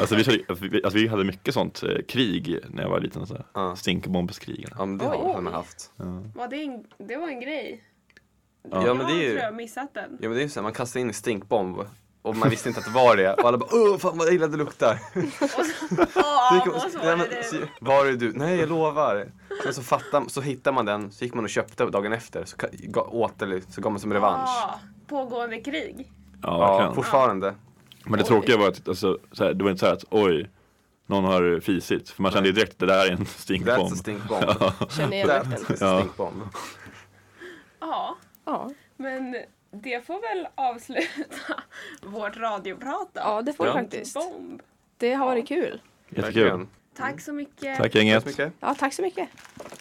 Alltså vi, körde, vi- alltså, vi hade mycket sånt eh, krig när jag var liten. alltså. Så här.
Ja.
Stinkbombskrig.
Ja men det
Oj.
har, har man haft.
Var det, en, det var en grej.
Ja men det är
Jag
ju,
tror jag har missat den.
ja men det är ju såhär, man kastar in en stinkbomb. Och man visste inte att det var det. Och alla bara åh fan vad illa det luktar.
Och så, ja, och så
Nej,
var
men,
det
så-
du.
var det du? Nej, jag lovar. Sen så, fattar, så hittar man den, så gick man och köpte dagen efter. Så ka- ga- åt eller så gav man som revansch.
Ja, pågående krig.
Ja,
ja,
verkligen.
fortfarande.
Men det tråkiga var att alltså, så här, det var inte så här att oj, någon har fisit. För man kände ju direkt det där är en
That's
stinkbomb.
a stinkbomb.
Känner igen lukten.
That's a
Ja.
stinkbomb.
Ja,
Ja.
men det får väl avsluta vårt radioprat då.
ja, det får du
Ja.
faktiskt.
Bomb.
Det har varit kul.
Jättekul.
Verkligen.
Tack så mycket.
Tack
Tack så
gänget.
mycket.
Ja, tack så mycket.